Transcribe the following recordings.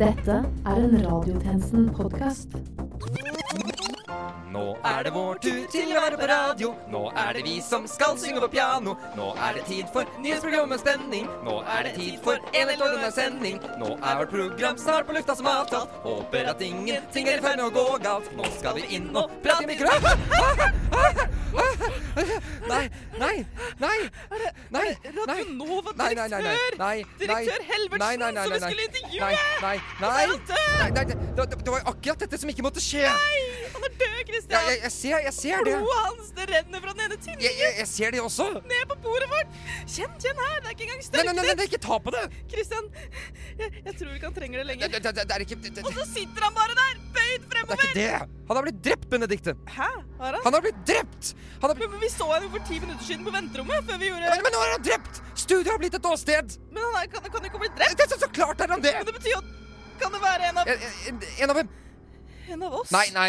Dette er en Radiotjenesten-podkast. Nå er det vår tur til å være på radio. Nå er det vi som skal synge på piano. Nå er det tid for nyhetsprogram med spenning. Nå er det tid for en helt ordinær sending. Nå er vårt program snart på lufta som avtalt. Håper at ingenting er i ferd med å gå galt. Nå skal vi inn og prate i mikrofonen. ah, Nei, nei, nei. Nei, nei. Nei, nei, nei, nei, nei, nei. Direktør Helvertsen, Nei, nei, nei, som vi nei, nei. skulle intervjue! Nei, nei, nei. Han er død! Nei, nei, det, det, det var jo akkurat dette som ikke måtte skje. Han er død, Christian! Ja, jeg, jeg ser, jeg ser det. Blodet hans det renner fra den ene tinnen Jeg, jeg, jeg ser det også. Nei, ned på bordet vårt! Kjenn, kjenn her! Det er ikke engang nei, sterkt nei, nei, nei ikke ta på det. Christian, jeg, jeg tror ikke han trenger det Det, lenger. det, det, det er ikke det, det, Og det så sitter han bare der, bøyd er fremover! ikke det. Han har blitt drept, Benedikte. Hæ? Har han? Han har blitt drept. Han har blitt... Men men Vi så henne for ti minutter siden på venterommet. før vi gjorde... Men, men nå er han drept! Studio har blitt et åsted. Men han er, kan, kan jo ikke bli drept! Det, så, så klart er han det. Men det betyr jo at Kan det være en av, En, en- en av dem. en av oss? Nei, nei.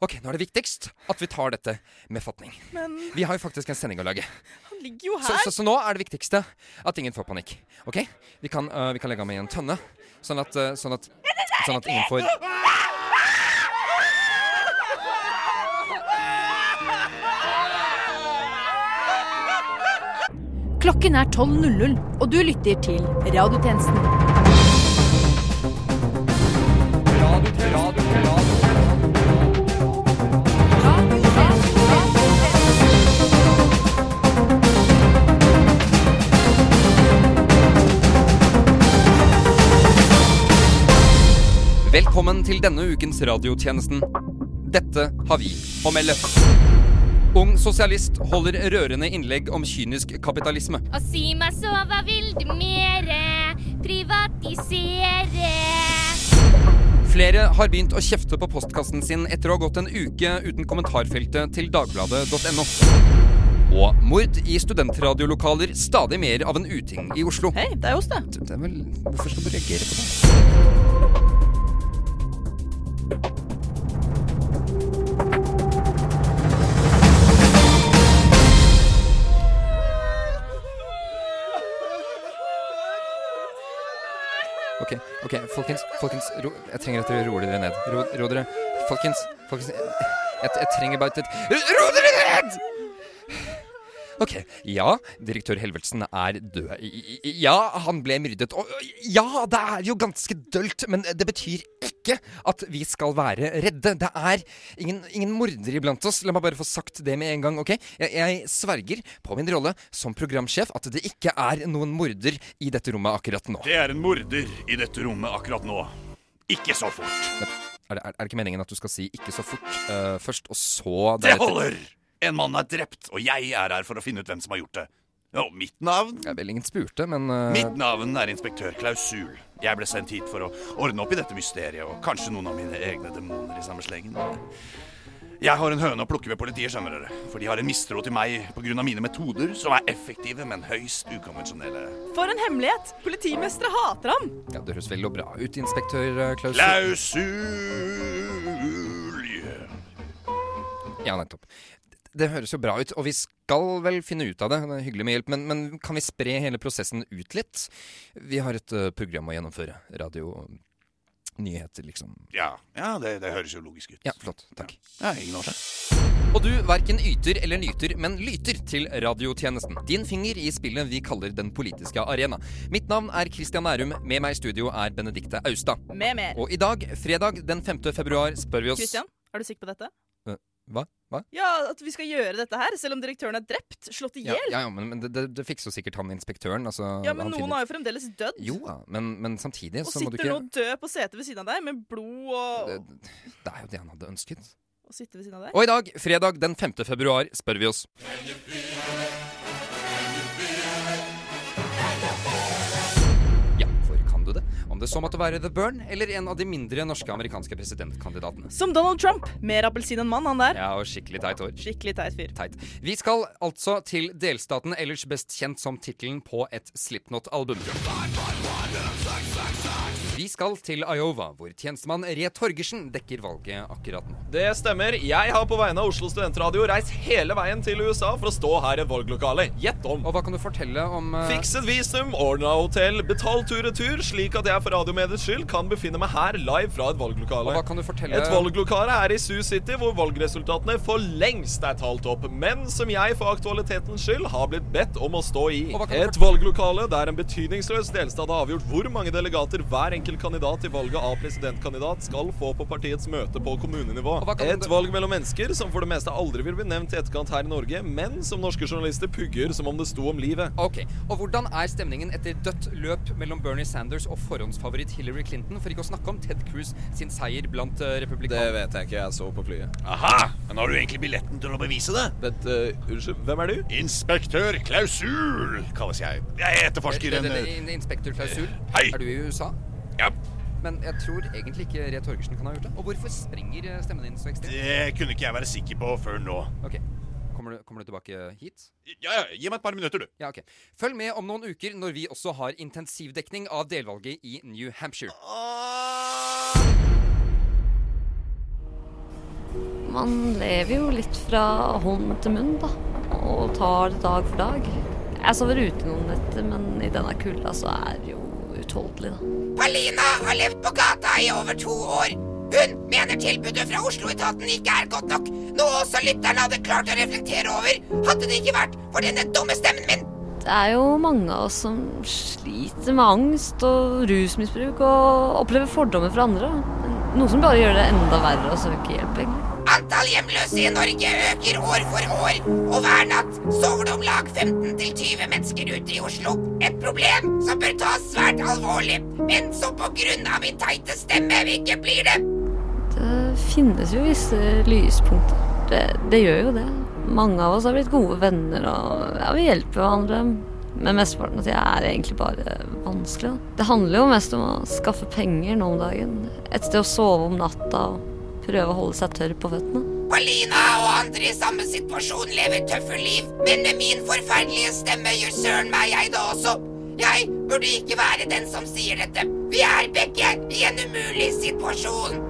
Ok, nå er det viktigst at vi tar dette med fatning. Men Vi har jo faktisk en sending å lage. han ligger jo Så, her. så, så nå er det viktigste at ingen får panikk. Ok? Vi kan, øh, vi kan legge ham i en tønne, sånn at, øh, sånn at, sånn at ingen får Klokken er 12.00, og du lytter til Radiotjenesten. Velkommen til denne ukens radiotjenesten. Dette har vi å melde. Ung sosialist holder rørende innlegg om kynisk kapitalisme. Og si meg så, hva vil du mere? Privatisere. Flere har begynt å kjefte på postkassen sin etter å ha gått en uke uten kommentarfeltet til dagbladet.no. Og mord i studenttradiolokaler stadig mer av en uting i Oslo. Hei, det er oss, det. Det er vel Hvorfor skal du reagere på det? Ok, ok, folkens, folkens, ro, jeg trenger at dere roer dere ned. Ro, ro dere. Folkens, folkens, jeg, jeg, jeg trenger bare et... Ro, ro dere ned! Ok, ja, direktør Helvelsen er død. I- i- Ja, han ble myrdet. Og ja, det er jo ganske dølt, men det betyr ikke at vi skal være redde. Det er ingen, ingen morder iblant oss. La meg bare få sagt det med en gang, ok? Jeg, jeg sverger på min rolle som programsjef at det ikke er noen morder i dette rommet akkurat nå. Det er en morder i dette rommet akkurat nå. Ikke så fort. Er det, er det ikke meningen at du skal si 'ikke så fort' eh, først, og så Det deretter? holder! En mann er drept, og jeg er her for å finne ut hvem som har gjort det. Og mitt navn? Ja, vel, ingen spurte, men eh, Mitt navn er inspektør Klausul. Jeg ble sendt hit for å ordne opp i dette mysteriet, og kanskje noen av mine egne demoner i samme slengen. Jeg har en høne å plukke ved politiet, skjønner dere. For de har en mistro til meg pga. mine metoder, som er effektive, men høyst ukonvensjonelle. For en hemmelighet! Politimestere hater ham. ja, Det høres vel og bra ut, inspektør eh, Klaus. Klausul! Ja, nettopp. Det høres jo bra ut, og vi skal vel finne ut av det. det er hyggelig med hjelp, men, men kan vi spre hele prosessen ut litt? Vi har et eh, program å gjennomføre. Radio Nyheter, liksom. Ja, ja det, det høres jo logisk ut. Ja, flott. Takk. Ja, ingen årsak. Og du verken yter eller nyter, men lyter til radiotjenesten. Din finger i spillet vi kaller Den politiske arena. Mitt navn er Christian Nærum, med meg i studio er Benedikte Austad. Med mer. Og i dag, fredag den 5. februar, spør vi oss Eh, Christian, er du sikker på dette? Hva? Hva? Ja, at vi skal gjøre dette her, selv om direktøren er drept, slått i Ja, hjel. Ja, ja, ja, men, men det, det, det fikser jo sikkert han inspektøren. Altså, men han noen finner- har jo fremdeles dødd. Jo da, men, men samtidig og så må du sitter ikke nå død på setet ved siden av deg, med blod og, det, det er jo det han hadde ønsket. og sitter ved siden av deg. Og i dag, fredag den 5. februar, spør vi oss Ja, for kan du det? Om det så måtte være The Burn eller en av de mindre norske amerikanske presidentkandidatene. Som Donald Trump. Mer appelsin enn mann, han der. Ja, og skikkelig teit hår. Skikkelig teit fyr. Teit. Vi skal altså til delstaten ellers best kjent som tittelen på et Slipknot-album. Vi skal til Iowa, hvor tjenestemann Re Torgersen dekker valget akkurat nå. Det stemmer. Jeg har på vegne av Oslo Studentradio reist hele veien til USA for å stå her i et valglokale. Gjett om. Og hva kan du fortelle om eh, Fikset visum, ordna hotell, betalt tur-retur, slik at jeg for radiomediets skyld kan befinne meg her live fra et Og valglokale. hva kan du fortelle- Et valglokale er i Sioux City, hvor valgresultatene for lengst er talt opp, men som jeg for aktualitetens skyld har blitt bedt om å stå i. Og hva kan du Et valglokale der en betydningsløs delstat har avgjort hvor mange delegater hver enkelt kandidat i valget av presidentkandidat skal få på partiets møte på kommunenivå. Og hva kan Et du- valg mellom mennesker som for det meste aldri vil bli nevnt i etterkant her i Norge, men som norske journalister pugger som om det sto om livet. Ok, og Hvordan er stemningen etter dødt løp mellom Bernie Sanders og forhåndsfavoritt Hillary Clinton, for ikke å snakke om Ted Cruz sin seier blant eh, Det republikanere? vet jeg ikke. Jeg så på flyet. Aha! Men har du egentlig billetten til å bevise det? Vent, eh, unnskyld, hvem er du? Inspektør Klausul kalles jeg. Jeg etterforsker en eh, det- det- det- Inspektør Klausul, Hei! er du i USA? Ja, Men jeg tror egentlig ikke Re Torgersen kan ha gjort det. Og hvorfor sprenger eh, stemmen din så ekstremt? det kunne ikke jeg være sikker på før nå. Ok, kommer du, kommer du tilbake hit? Ja, ja, Gi meg et par minutter, du. Ja, ok. Følg med om noen uker når vi også har intensivdekning av delvalget i New Hampshire. Man lever jo litt fra hånd til munn, da. Og tar det dag for dag. Jeg sover ute noen netter, men i denne kulda så er det jo utholdelig, da. Palina har levd på gata i over to år. Hun mener tilbudet fra Oslo-etaten ikke er godt nok, noe også lytterne hadde klart å reflektere over, hadde det ikke vært for denne dumme stemmen min. Det er jo mange av oss som sliter med angst og rusmisbruk og opplever fordommer fra andre. da. Noe som bare gjør det enda verre å søke hjelp, egentlig. Antall hjemløse i Norge øker år for år, og hver natt sover det om lag 15-20 mennesker ute i Oslo. Et problem som bør tas svært alvorlig, men som på grunn av min teite stemme ikke blir det. Det finnes jo visse lyspunkter. Det, det gjør jo det. Mange av oss har blitt gode venner, og ja, vi hjelper hverandre. Men mesteparten av tida er egentlig bare vanskelig. Da. Det handler jo mest om å skaffe penger nå om dagen. Et sted å sove om natta og prøve å holde seg tørr på føttene. Palina og andre i samme situasjon lever tøffe liv, men med min forferdelige stemme gjør søren meg jeg det også. Jeg burde ikke være den som sier dette. Vi er begge i en umulig situasjon.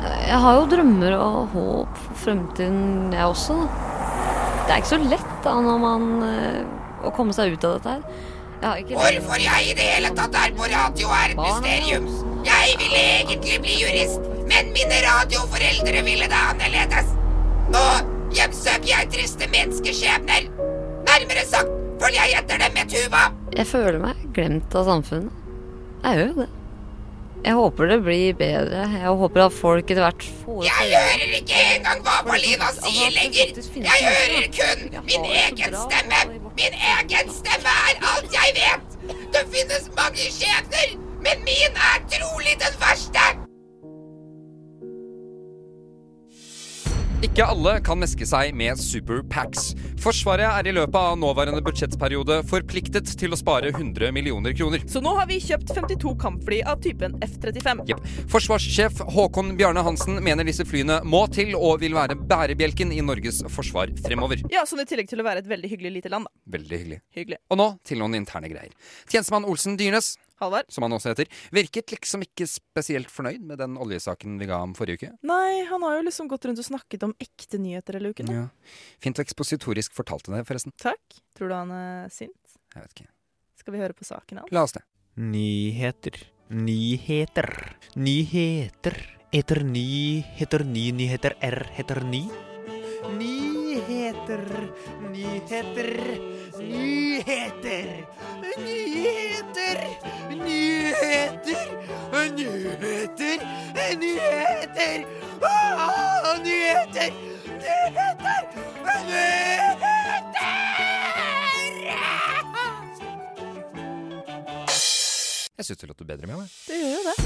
Jeg har jo drømmer og håp for fremtiden, jeg også. Da. Det er ikke så lett da, når man, eh, å komme seg ut av dette her. Jeg har ikke Hvorfor jeg i det hele tatt er på radio er et mysterium. Jeg ville egentlig bli jurist, men mine radioforeldre ville det annerledes. Nå hjemsøker jeg triste menneskeskjebner. Nærmere sagt følger jeg etter dem med tuba. Jeg føler meg glemt av samfunnet. Jeg gjør jo det. Jeg håper det blir bedre. Jeg håper at folk etter hvert får Jeg hører ikke engang hva Malina sier lenger. Jeg hører kun min egen stemme. Min egen stemme er alt jeg vet. Det finnes mange skjebner, men min er trolig den verste. Ikke alle kan meske seg med superpacks. Forsvaret er i løpet av nåværende budsjettperiode forpliktet til å spare 100 millioner kroner. Så nå har vi kjøpt 52 kampfly av typen F-35. Jep. Forsvarssjef Håkon Bjarne Hansen mener disse flyene må til og vil være bærebjelken i Norges forsvar fremover. Ja, Sånn i tillegg til å være et veldig hyggelig lite land, da. Veldig hyggelig. Hyggelig. Og nå til noen interne greier. Tjenestemann Olsen Dyrnes, Halvard? som han også heter, virket liksom ikke spesielt fornøyd med den oljesaken vi ga ham forrige uke. Nei, han har jo liksom gått rundt og snakket om ekte nyheter hele uken. da. Ja. Fint og ekspositorisk fortalte det, forresten. Takk. Tror du han er sint? Jeg vet ikke. Skal vi høre på saken hans? La oss det. Nyheter. Nyheter. Nyheter. Etter ny heter ny nyheter R heter ny. Nyheter. Nyheter. Nyheter. Nyheter. Nyheter. Nyheter. Nyheter. Åh, nyheter. Nyheter. Nyheter. Jeg syns det låter bedre med meg. Det gjør jo det.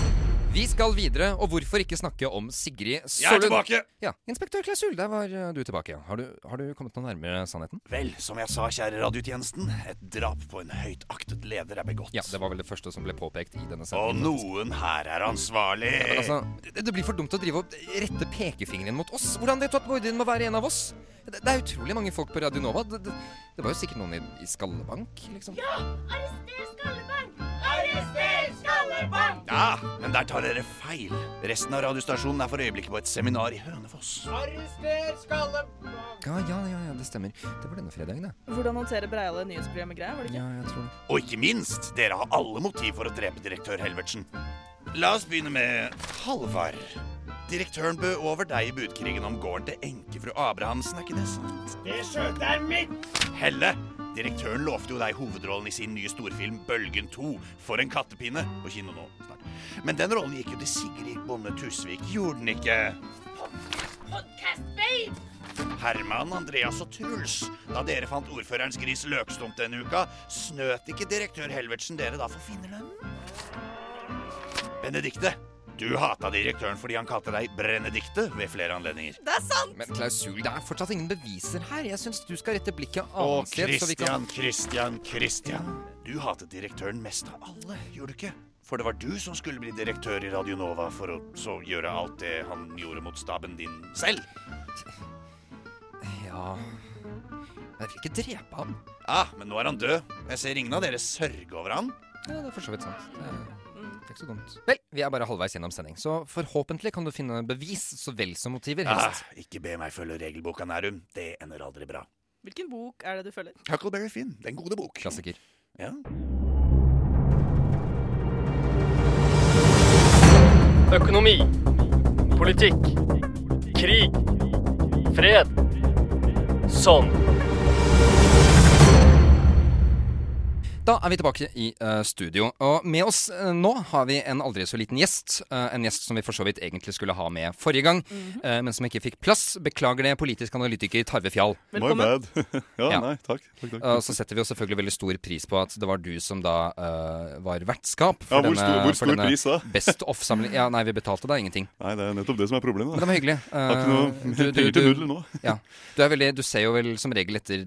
Vi skal videre, og hvorfor ikke snakke om Sigrid Solund? Jeg er tilbake! Ja, Inspektør Klausul, der var eh, du tilbake. Har du, har du kommet noe nærmere sannheten? Vel, som jeg sa, kjære radiotjenesten, et drap på en høytaktet leder er begått. Ja, det var vel det første som ble Eh. påpekt i denne Og sendingen. noen her er ansvarlig. Men altså, det, det blir for dumt å drive og rette pekefingeren mot oss. Hvordan vet du at Boydin må være en av oss? Det, det er utrolig mange folk på Radio Nova. Det, det, det var jo sikkert noen i, i Skallebank, liksom. Arrester Skallebank! Arrester Skallebank! Ja, men Men der tar dere feil. Resten av radiostasjonen er for øyeblikket på et seminar i Hønefoss. Arrester Skalle... Ja, ja, ja, ja, det stemmer. Det var denne fredagen, det. Hvordan håndtere Breile nyhetsprogrammet greier, var det ikke? Ja, jeg tror det. Og ikke minst, dere har alle motiv for å drepe direktør Helvertsen. La oss begynne med Halvard. Direktøren bød over deg i budkrigen om gården til enkefru Abrahamsen, er ikke det sant? Det skjøtet er mitt! Helle, direktøren lovte jo deg hovedrollen i sin nye storfilm Bølgen 2, For en kattepine, på kino nå snart. Men den rollen gikk jo til Sigrid Bonde Tusvik, gjorde den ikke? Podcast babe! Herman, Andreas og Truls. Da dere fant ordførerens gris løkstump denne uka, snøt ikke direktør Helvertsen dere da for finnerlønnen? Benedikte, du hata direktøren fordi han kalte deg Brennedikte ved flere anledninger. Det er sant! Men klausul, det er fortsatt ingen beviser her. Jeg syns du skal rette blikket Og annet sted, så vi kan Christian, Christian, Christian. Du hatet direktøren mest av alle, gjorde du ikke? For det var du som skulle bli direktør i Radio Nova for å så gjøre alt det han gjorde mot staben din selv. Ja Jeg vil ikke drepe ham. Ah, men nå er han død. Jeg ser ingen av dere sørge over han. Ja, det er for så vidt sant. Det er det er ikke så dumt. Vel, vi er bare halvveis gjennom sending, så forhåpentlig kan du finne bevis så vel som motiver, Ah, helst. ikke be meg følge regelboka, Nærum. Det ender aldri bra. Hvilken bok er det du følger? Huckleberry Finn, den gode bok. Klassiker. Ja. Økonomi. Politikk. Krig. Fred. Sånn. Da er vi tilbake i eh, studio. Og med oss eh, nå har vi en aldri så liten gjest. eh, en gjest som vi for så vidt egentlig skulle ha med forrige gang, eh, men som ikke fikk plass. Beklager det, politisk analytiker Tarve Fjall. Velkommen. ja, Ja. nei, takk. takk, takk. Eh, så setter vi jo selvfølgelig veldig stor pris på at det var du som da eh, var vertskap for Ja, hvor stor, hvor for stor pris da? Best off-samling Ja, nei, vi betalte deg ingenting. Nei, det er nettopp det som er problemet. Men da. det var hyggelig. Eh, Har ikke noe du- penger du- til du- nudler nå. Ja. Du, er veldig, du ser jo vel som regel etter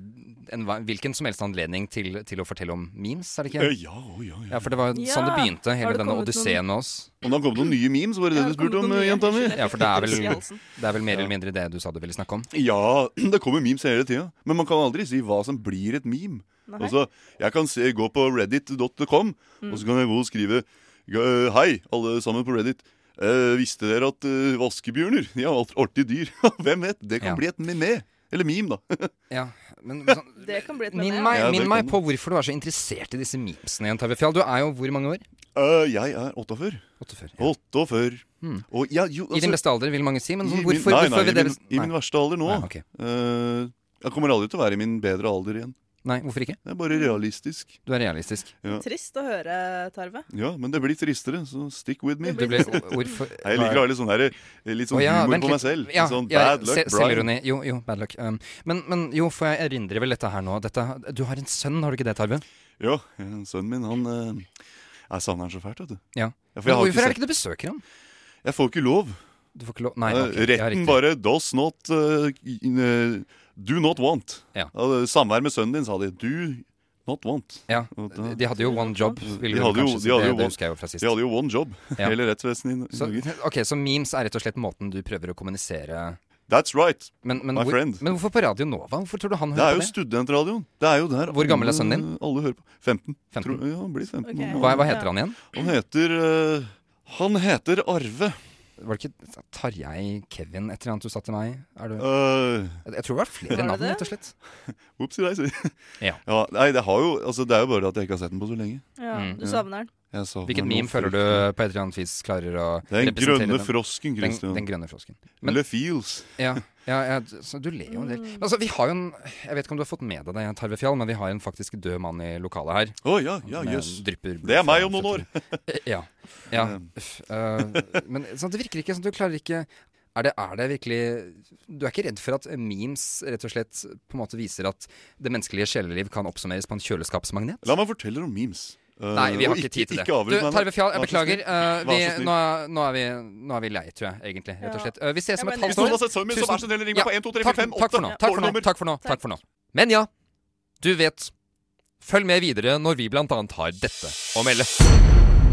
en, hva- hvilken som helst anledning til, til å fortelle om memes, er det Eh, ikke? Ja, å ja, ja. Ja, for det var sånn det Ja. begynte, Har hele det denne kommet odysseen med oss. Om det har kommet noen nye memes, var det det du spurte om, eh, jenta mi? Ja, for det er vel- vel Det er vel mer eller mindre det du sa du ville snakke om. Ja, det kommer memes hele tida. Men man kan aldri si hva som blir et meme. Nei. Altså, jeg kan se, gå på reddit.com, Mm. og så kan jeg gå og skrive «G- eh, Hei, alle sammen på Reddit. Eh, visste dere at eh, vaskebjørner De er alt artige dyr? Hvem vet? Det kan Ja. bli et meme. Eller meme, da. Ja, men sånn, Det kan bli et Minn meme. meg, Ja, det minn kan meg du. på hvorfor du er så interessert i disse memesene igjen, Taive Fjall. Du er jo hvor mange år? Eh, jeg er 48. 48. Ja. Mm. 48. Og ja, jo, I din altså, beste alder, vil mange si, men i sånn, min- hvorfor, nei, hvorfor nei, vil i dere min, I min nei. verste alder nå. Nei, ok. Eh, jeg kommer aldri til å være i min bedre alder igjen. nei, hvorfor ikke? Det er bare realistisk. Du er realistisk. Trist å høre, Tarve. Ja, Men det blir tristere, så stick with me. Det Du ble Hvorfor Nei, Jeg liker å ha litt sånn, her, litt sånn Å ja, humor vent på meg litt. selv. Ja, litt sånn ja, bad luck, se- Brian. Selvironi. Jo, jo, bad luck. Um, men, men jo, for jeg erindrer vel dette her nå. Dette, du har en sønn, har du ikke det, Tarve? Ja, sønnen min, han eh, Jeg savner han så fælt, vet du. Ja. Ja, for jeg, Men har ikke hvorfor er det sett, ikke du besøker ham? jeg får ikke lov. Du får ikke lov Nei, Eh, ok, ja, Retten riktig. bare does not eh, in, eh, Do not want. Ja. Eh, Samvær med sønnen din, sa de. Do not want. Ja. Og da- De hadde jo one job, ville De vel hadde jo- kanskje si. de hadde Det, jo det one- husker jeg jo fra sist. De hadde jo one job, Ja. hele rettsvesenet i i Så, Norge. ok, så memes er rett og slett måten du prøver å kommunisere That's right. Men, men, My hvor, friend. men hvorfor på Radio Nova? Hvorfor tror du han Det er hører jo på det? studentradioen. Det er jo der Hvor gammel er sønnen din? alle- Alle hører på. 15. 15. Tror, ja, han blir Ok. 15. nå. Hva, hva heter han igjen? Han heter eh, Han heter Arve. Var det ikke Tarjei Kevin et eller annet du sa til meg? Er du, Uh, jeg tror det var flere Var det navn, det? rett og slett. Ops, jeg sier. Ja. nei, det, har jo, altså, det er jo bare at jeg ikke har sett den på så lenge. Ja, Mm. du savner den. Jeg sa den her Hvilket nå meme før. føler du på et eller annet vis klarer å Den representere grønne den- frosken, den, Christian. den grønne frosken. men- Le feels. Ja, ja, ja d- så du ler jo en del. Men altså, vi har jo en Jeg vet ikke om du har fått med deg det, Tarve Fjall, men vi har en faktisk død mann i lokalet her. Å ja, ja, med jøss. drypper blod Det er meg fra om noen år. Um. føttene. Ja. ja. Uff, eh, men sånn, det virker ikke som du klarer ikke er det, er det virkelig Du er ikke redd for at memes rett og slett på en måte viser at det menneskelige sjeleliv kan oppsummeres på en kjøleskapsmagnet? La meg fortelle om memes. Eh, Nei, vi har og ikke tid til ikke det. Du, avbryt meg nå. Tarve Fjall, jeg Vær så snill. beklager. Eh, Vær vi, så snill. nå, er, nå, er vi, nå er vi lei, tror jeg, egentlig. Rett og Ja. slett. Eh, vi ses om Ja, et men- halvt Hvis noen år. har sett sønnen min, så Tusen- vær så snill, ring meg på 1, 2, 3, 4, Takk, 5, 8. takk for nå. Takk for nå. Takk for nå. Takk for nå. Men ja, du vet. Følg med videre når vi bl.a. har dette å melde.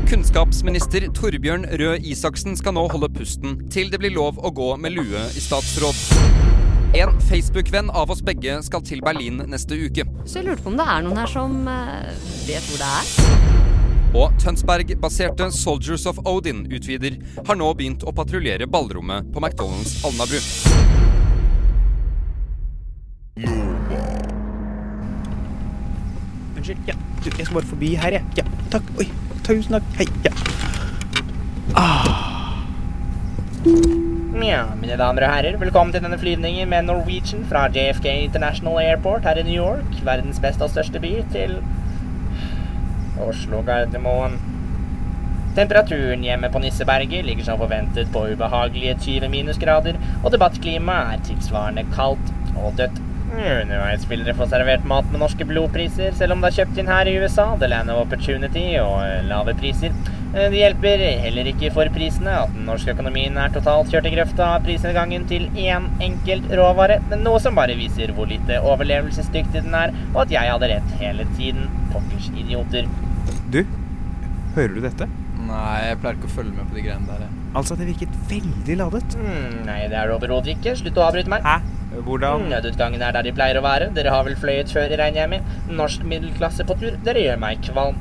Kunnskapsminister Torbjørn Røe Isaksen skal nå holde pusten til det blir lov å gå med lue i statsråd. En Facebook-venn av oss begge skal til Berlin neste uke. Så jeg lurte på om det er noen her som eh, vet hvor det er. Og Tønsberg-baserte Soldiers of Odin utvider har nå begynt å patruljere ballrommet på McDonald's Alnabru. Unnskyld. Ja, du, jeg skal bare forbi her, jeg. Ja, takk. Oi, tusen takk. Hei. Ja. Ah. Ja, mine damer og herrer, velkommen til denne flyvningen med Norwegian fra JFK International Airport her i New York, verdens beste og største by, til Oslo Gardermoen. Temperaturen hjemme på Nisseberget ligger som forventet på ubehagelige 20 minusgrader, og debattklimaet er tilsvarende kaldt og dødt. Underveis vil dere få servert mat med norske blodpriser, selv om det er kjøpt inn her i USA, the land of opportunity og eh, lave priser. Eh, Det hjelper heller ikke for prisene at den norske økonomien er totalt kjørt i grøfta av prisnedgangen til én enkelt råvare, men noe som bare viser hvor lite overlevelsesdyktig den er, og at jeg hadde rett hele tiden. Pokkers idioter. Du, hører du dette? Nei, jeg pleier ikke å følge med på de greiene der. jeg. Altså, det virket veldig ladet. Hmm, Nei, det er det overhodet ikke. Slutt å avbryte meg. Hmm, Hæ? Hvordan? Nødutgangen er der de pleier å være. Dere har vel fløyet før, regner jeg med. Norsk middelklasse på tur. Dere gjør meg kvalm.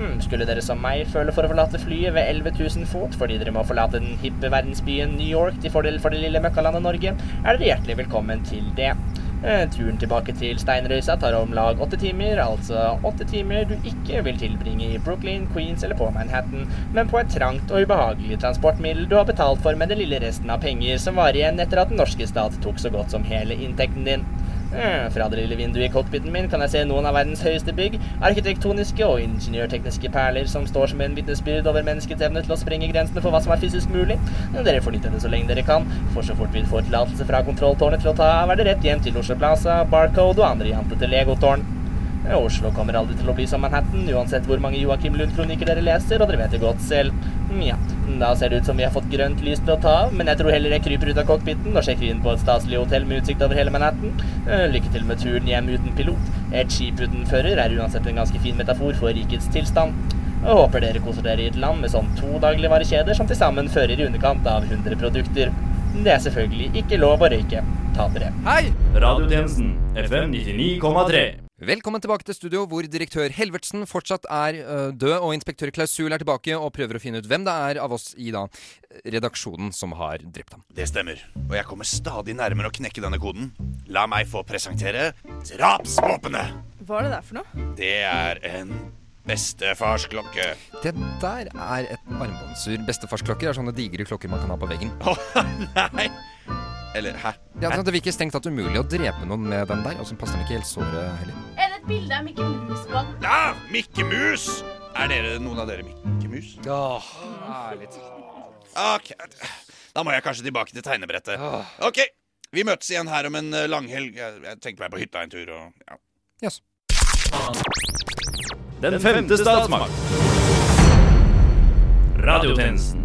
Hmm, skulle dere som meg føle for å forlate flyet ved 11 000 fot fordi dere må forlate den hippe verdensbyen New York til fordel for det lille møkkalandet Norge, er dere hjertelig velkommen til det. Eh, Turen tilbake til Steinrøysa tar om lag åtte timer, altså åtte timer du ikke vil tilbringe i Brooklyn, Queens eller på Manhattan, men på et trangt og ubehagelig transportmiddel du har betalt for med den lille resten av penger som var igjen etter at den norske stat tok så godt som hele inntekten din. Mm, Fra det lille vinduet i cockpiten min kan jeg se noen av verdens høyeste bygg, arkitektoniske og ingeniørtekniske perler som står som en vitnesbyrd over menneskets evne til å sprenge grensene for hva som er fysisk mulig. Men Dere får nyte det så lenge dere kan, for så fort vi får tillatelse fra kontrolltårnet til å ta av, er det rett hjem til Oslo Plaza, Barcode og andre jantete legotårn. Ja, Eh, Oslo kommer aldri til å bli som Manhattan, uansett hvor mange Joakim Lund-kronikker dere leser, og dere vet det godt selv. Mm, Ja, da ser det ut som vi har fått grønt lys til å ta av, men jeg tror heller jeg kryper ut av cockpiten og sjekker inn på et staselig hotell med utsikt over hele Manhattan. Eh, Lykke til med turen hjem uten pilot. Et skip uten fører er uansett en ganske fin metafor for rikets tilstand. Jeg håper dere koser dere i et land med sånn to dagligvarekjeder som til sammen fører i underkant av 100 produkter. Det er selvfølgelig ikke lov å røyke. Ta dere. Hei! Radiotjenesten FM 99,3. Velkommen tilbake til studio, hvor direktør Helvertsen fortsatt er øh, død, og inspektør Klausul er tilbake og prøver å finne ut hvem det er av oss i da redaksjonen som har drept ham. Det stemmer. Og jeg kommer stadig nærmere å knekke denne koden. La meg få presentere drapsvåpenet! Hva er det der for noe? Det er en bestefarsklokke. Det der er et armbåndsur. Bestefarsklokker er sånne digre klokker man kan ha på veggen. nei! Eller hæ? Ja, sånn at Det virker strengt tatt umulig å drepe noen med den der, og så passer den ikke helt såret heller. Er det et bilde av Mikke Mus på den? Ja, Mikke Mus! Er dere noen av dere Mikke Mus? Åh, Ah, ærlig Ok, da må jeg kanskje tilbake til tegnebrettet. Ok, vi møtes igjen her om en eh, langhelg. Jeg jeg tenkte meg på hytta en tur og ja. Yes. Den femte statsmakt. Radiotjenesten.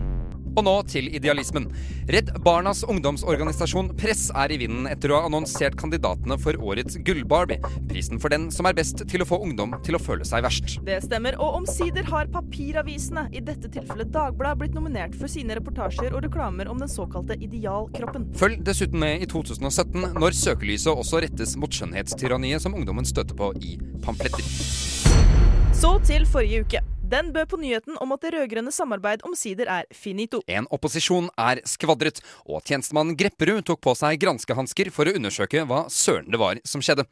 Og nå til idealismen. Redd Barnas ungdomsorganisasjon Press er i vinden etter å ha annonsert kandidatene for årets Gull-Barbie. Prisen for den som er best til å få ungdom til å føle seg verst. Det stemmer, og omsider har papiravisene, i dette tilfellet Dagbladet, blitt nominert for sine reportasjer og reklamer om den såkalte idealkroppen. Følg dessuten med i 2017, når søkelyset også rettes mot skjønnhetstyranniet som ungdommen støter på i pamfletter. Så til forrige uke. Den bød på nyheten om at det rød-grønne samarbeid omsider er finito. En opposisjon er skvadret, og tjenestemannen Grepperud tok på seg granskehansker for å undersøke hva søren det var som skjedde.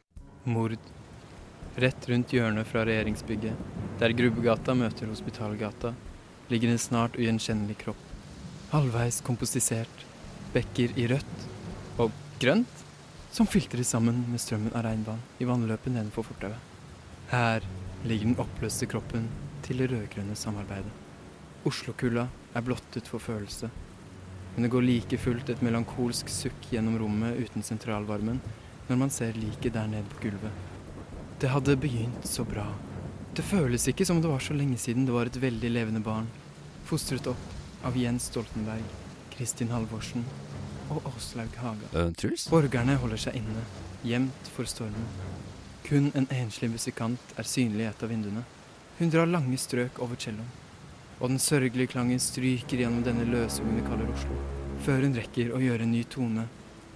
Mord. Rett rundt hjørnet fra regjeringsbygget, der Grubbegata møter Hospitalgata, ligger en snart ugjenkjennelig kropp. Halvveis kompostisert. Bekker i rødt og grønt, som filtres sammen med strømmen av regnvann i vannløpet nedenfor fortauet. Her ligger den oppløste kroppen til det rød-grønne samarbeidet. Oslokulda er blottet for følelse. Men det går like fullt et melankolsk sukk gjennom rommet uten sentralvarmen når man ser liket der nede på gulvet. Det hadde begynt så bra. Det føles ikke som det var så lenge siden det var et veldig levende barn, fostret opp av Jens Stoltenberg, Kristin Halvorsen og Åslaug Haga. Eh, Truls? Borgerne holder seg inne, gjemt for stormen. Kun en enslig musikant er synlig i et av vinduene. Hun drar lange strøk over celloen, og den sørgelige klangen stryker gjennom denne løsungen vi kaller Oslo. Før hun rekker å gjøre en ny tone,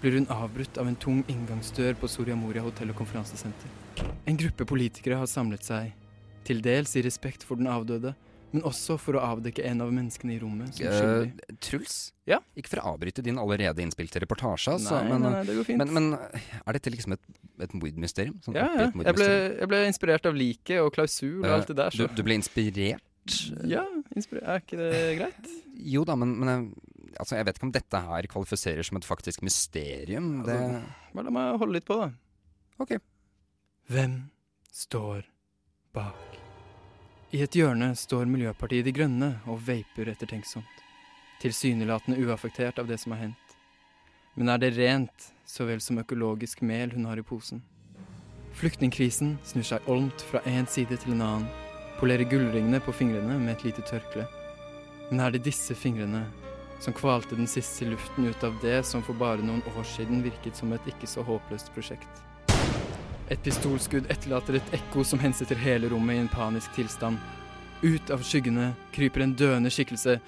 blir hun avbrutt av en tung inngangsdør på Soria Moria hotell og konferansesenter. En gruppe politikere har samlet seg, til dels i respekt for den avdøde, men også for å avdekke en av menneskene i rommet som skyldig. Eh, Truls? Ikke for å avbryte din allerede innspilte reportasje, altså, Nei, men, nei, nei, det går fint. Men, men er dette liksom et, et mordmysterium? Sånn Ja, ja. Jeg oppi et ble, mordmysterium? jeg ble inspirert av liket og klausul og Eh, alt det der. Så. Du, du ble inspirert? Eh, Ja, inspirert. Er ikke det greit? Jo da, men, men jeg- altså, jeg vet ikke om dette her kvalifiserer som et faktisk mysterium. Det Altså, Bare la meg holde litt på, da. Ok. Hvem står bak? I et hjørne står Miljøpartiet De Grønne og vaper ettertenksomt. Tilsynelatende uaffektert av det som har hendt. Men er det rent så vel som økologisk mel hun har i posen? Flyktningkrisen snur seg olmt fra én side til en annen. Polerer gullringene på fingrene med et lite tørkle. Men er det disse fingrene som kvalte den siste luften ut av det som for bare noen år siden virket som et ikke så håpløst prosjekt? Et pistolskudd etterlater et ekko som hensetter hele rommet i en panisk tilstand. Ut av skyggene kryper en døende skikkelse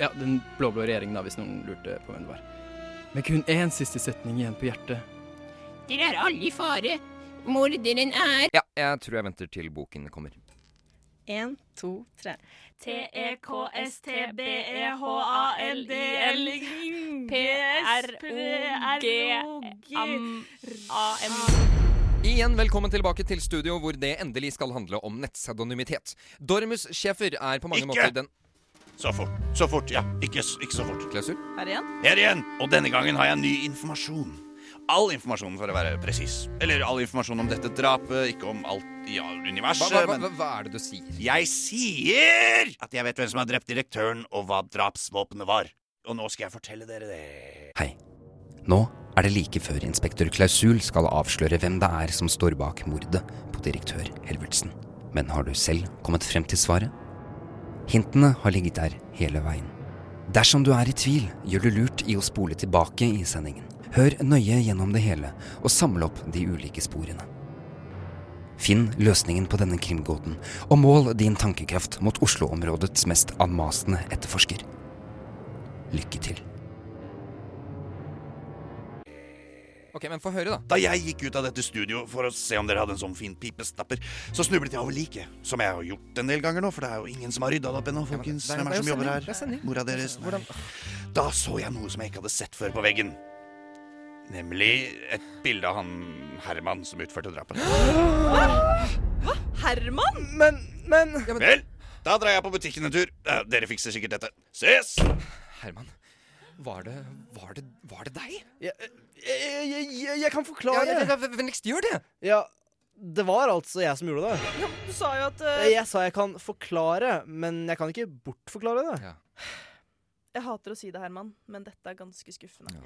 Ja, den blå-blå regjeringen, da, hvis noen lurte på hvem det var. Med kun én siste setning igjen på hjertet. Dere er alle i fare. Morderen er Ja, jeg tror jeg venter til boken kommer. En, to, tre. E T-E-K-S-T-B-E-H-A-L-D-L P-R-O-G-A-M. Igjen velkommen tilbake til studio, hvor det endelig skal handle om nettpseudonymitet. Dormus Schæfer er på mange Ikke! måter den Så fort, så fort, ja. Ikke, s- ikke så fort. Klausul? Her igjen? Her igjen! Og denne gangen har jeg ny informasjon. All informasjon, for å være presis. Eller all informasjon om dette drapet, ikke om alt i all universet. Hva- hva- hva- men hva er det du sier? Jeg sier at jeg vet hvem som har drept direktøren, og hva drapsvåpenet var. Og nå skal jeg fortelle dere det. Hei. Nå er det like før inspektør Klausul skal avsløre hvem det er som står bak mordet på direktør Helvertsen. Men har du selv kommet frem til svaret? Hintene har ligget der hele veien. Dersom du er i tvil, gjør du lurt i å spole tilbake i sendingen. Hør nøye gjennom det hele, og samle opp de ulike sporene. Finn løsningen på denne krimgåten, og mål din tankekraft mot Oslo-områdets mest anmasende etterforsker. Lykke til. Ok, men få høre, da. Da jeg gikk ut av dette studio for å se om dere hadde en sånn fin pipestapper, så snublet jeg over liket, som jeg har gjort en del ganger nå, for det er jo ingen som har rydda det opp ennå, folkens. det er- Hvem er det er det som jo jobber sending, her? det er sending. Mora deres? Nei. Da så jeg noe som jeg ikke hadde sett før på veggen. Nemlig et bilde av han Herman som utførte drapet. Hva? Herman? Men, men Vel, da drar jeg på butikken en tur. Eh, Dere fikser sikkert dette. Ses! Herman, var det Var det, var det deg? eh, Jeg, jeg, jeg, jeg kan forklare. Ja, ja, ja, Vennligst gjør det. Ja, det var altså jeg som gjorde det. Du sa jo at eh, Jeg sa jeg kan forklare, men jeg kan ikke bortforklare det. Jeg hater å si det, Herman, men dette er ganske skuffende.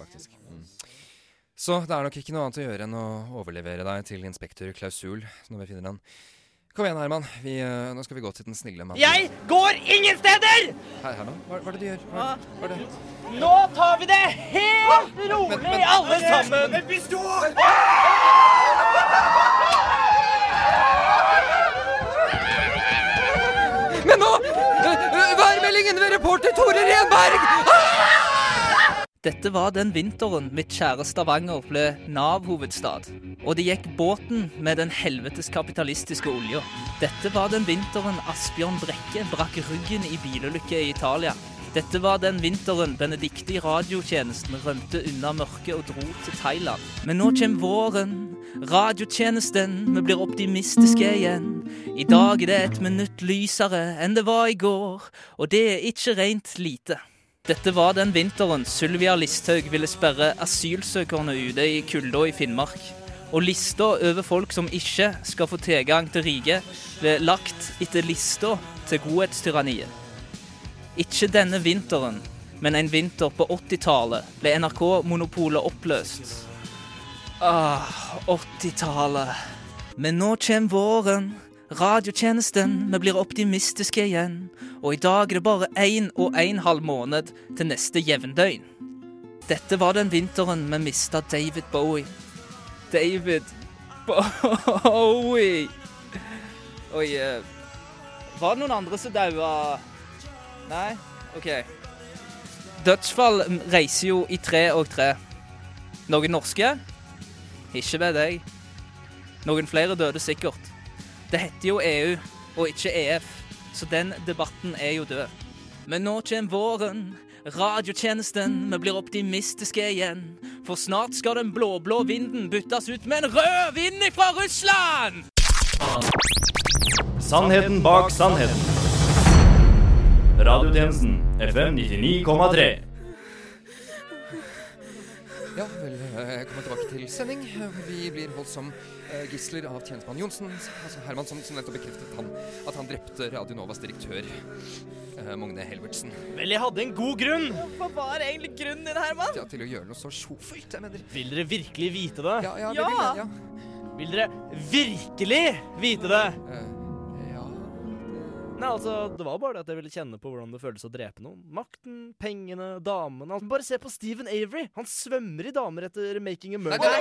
faktisk. Så det er nok ikke noe annet å gjøre enn å overlevere deg til inspektør Klausul når vi finner han. Kom igjen, Herman. Vi, eh, nå skal vi gå til den snille mannen. Jeg går ingen steder! Her, Herman, hva, hva er det du gjør? Hva, hva er det? Nå tar vi det helt rolig, alle sammen. En pistol! Men nå øh, Vær meldingen ved reporter Tore Renberg! Dette var den vinteren mitt kjære Stavanger ble Nav-hovedstad. Og det gikk båten med den helvetes kapitalistiske olja. Dette var den vinteren Asbjørn Brekke brakk ryggen i bilulykke i Italia. Dette var den vinteren Benedicte i radiotjenesten rømte unna mørket og dro til Thailand. Men nå kommer våren, radiotjenesten, vi blir optimistiske igjen. I dag er det et minutt lysere enn det var i går, og det er ikke rent lite. Dette var den vinteren Sylvia Listhaug ville sperre asylsøkerne ute i kulda i Finnmark. Og lista over folk som ikke skal få tilgang til riket, ble lagt etter lista til godhetstyranniet. Ikke denne vinteren, men en vinter på 80-tallet ble NRK-monopolet oppløst. Ah, 80-tallet. Men nå kommer våren. Radiotjenesten, vi blir optimistiske igjen. Og i dag er det bare én og en halv måned til neste jevndøgn. Dette var den vinteren vi mista David Bowie. David Bowie. Oi eh, Var det noen andre som daua? Nei? OK. Dødsfall reiser jo i tre og tre. Noen norske? Ikke vet jeg. Noen flere døde sikkert. Det heter jo EU, E og ikke EF. Så den debatten er jo død. Men nå kommer våren, radiotjenesten, vi blir optimistiske igjen. For snart skal den blå-blå vinden byttes ut med en rød vind fra Russland! Sannheten bak sannheten. Radiotjenesten FM 99,3. Ja, vel, eh, kommer tilbake til sending. Vi blir holdt som eh, gisler av tjenestemann Johnsen, altså Herman, som, som nettopp bekreftet han, at han drepte Radio Novas direktør, eh, Magne Helvertsen. Vel, jeg hadde en god grunn. Hva var egentlig grunnen din, Herman? Ja, til å gjøre noe så sjofelt, jeg mener. Vil dere virkelig vite det? Ja, ja, vi vil det, ja. Vil dere virkelig vite det? ja. Nei, altså, det var bare det at jeg ville kjenne på hvordan det føles å drepe noen. Makten, pengene, damene altså, Bare se på Stephen Avery. Han svømmer i damer etter 'Making a Murder'.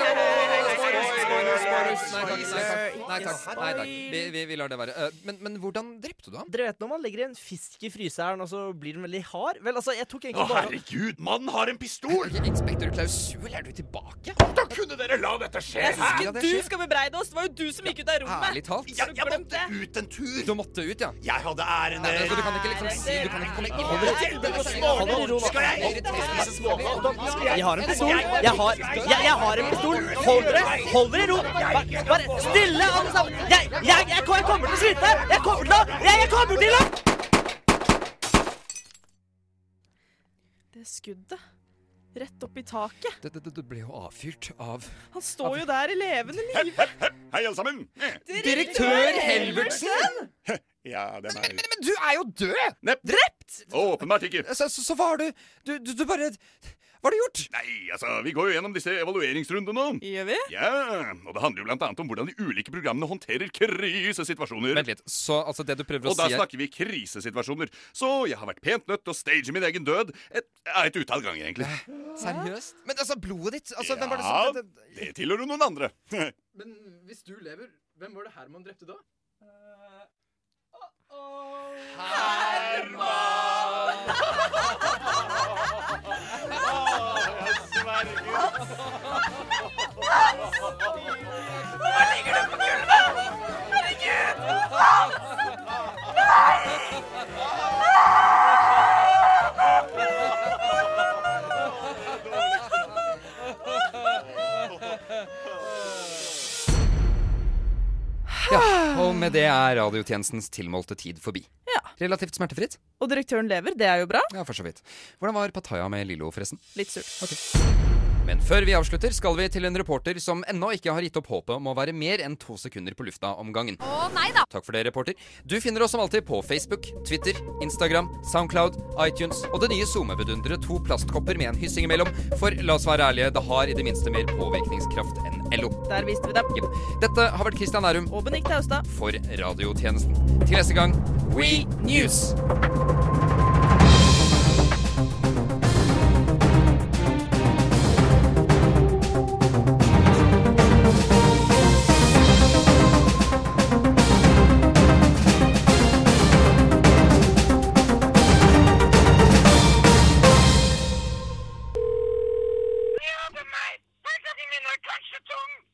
Spoilers! Nei takk. Nei takk. Nei, takk. Nei, takk. Vi, vi, vi lar det være. Eh, Men, men hvordan drepte du ham? Dere vet når man legger en fisk i fryseren, og så blir den veldig hard? Vel, altså, jeg tok Å, egentlig bare herregud, mannen har en pistol! Inspektør Klausul, er du tilbake? Da kunne dere la dette skje! Jeg hæ? synes ikke du skal bebreide oss! Det var jo du som gikk ut av rommet! Ærlig talt. Ja, jeg måtte ut en tur. Du måtte ut, ja. Jeg hadde æren Nei, men, altså, du kan ikke liksom si Du kan ikke komme Hold dere til, dere smålige roer. Skal jeg- Jeg har en pistol. Jeg har, jeg, jeg har en pistol. Hold dere hold dere i ro. Bare, bare stille, alle sammen. Jeg, jeg, jeg, jeg kommer til å skyte. Jeg kommer til å Jeg, jeg kommer til å Det skuddet. Rett opp i taket. Det, det, det- det ble jo avfyrt av Han står jo der i levende live. Hei, alle sammen. Direktør Helvertsen! Ja, det er meg. Men du er jo død! Drept! Åpenbart ikke. Så, så, så hva har du du, du du bare Hva har du gjort? Nei, altså, vi går jo gjennom disse evalueringsrundene nå. Gjør vi? Ja, og det handler jo blant annet om hvordan de ulike programmene håndterer krisesituasjoner. Vent litt, så altså det du prøver å Og da si er- snakker vi krisesituasjoner. Så jeg har vært pent nødt til å stage min egen død. Et, ja, et utall ganger, egentlig. Seriøst? Men altså, blodet ditt altså, Hvem var det Ja, som det, det, det tilhører noen andre. Men hvis du lever, hvem var det Herman drepte da? Hvorfor ligger du på gulvet? Herregud! Hans! Nei! Ja, og med det er radiotjenestens tilmålte tid forbi. Relativt smertefritt. Og direktøren lever, det er jo bra. Ja, for så vidt. Hvordan var Pattaya med Lillo, forresten? Litt surt. Men før vi avslutter, skal vi til en reporter som ennå ikke har gitt opp håpet om å være mer enn to sekunder på lufta om gangen. Å nei da. Takk for det, reporter. Du finner oss som alltid på Facebook, Twitter, Instagram, Soundcloud, iTunes og det nye SoMe-vidunderet to plastkopper med en hyssing imellom, for la oss være ærlige, det har i det minste mer påvirkningskraft enn LO. Der viste vi dem. Dette har vært Christian Nærum og Benikte Austad for radiotjenesten. Til neste gang, We News! Fortsatt i min orkansjetung!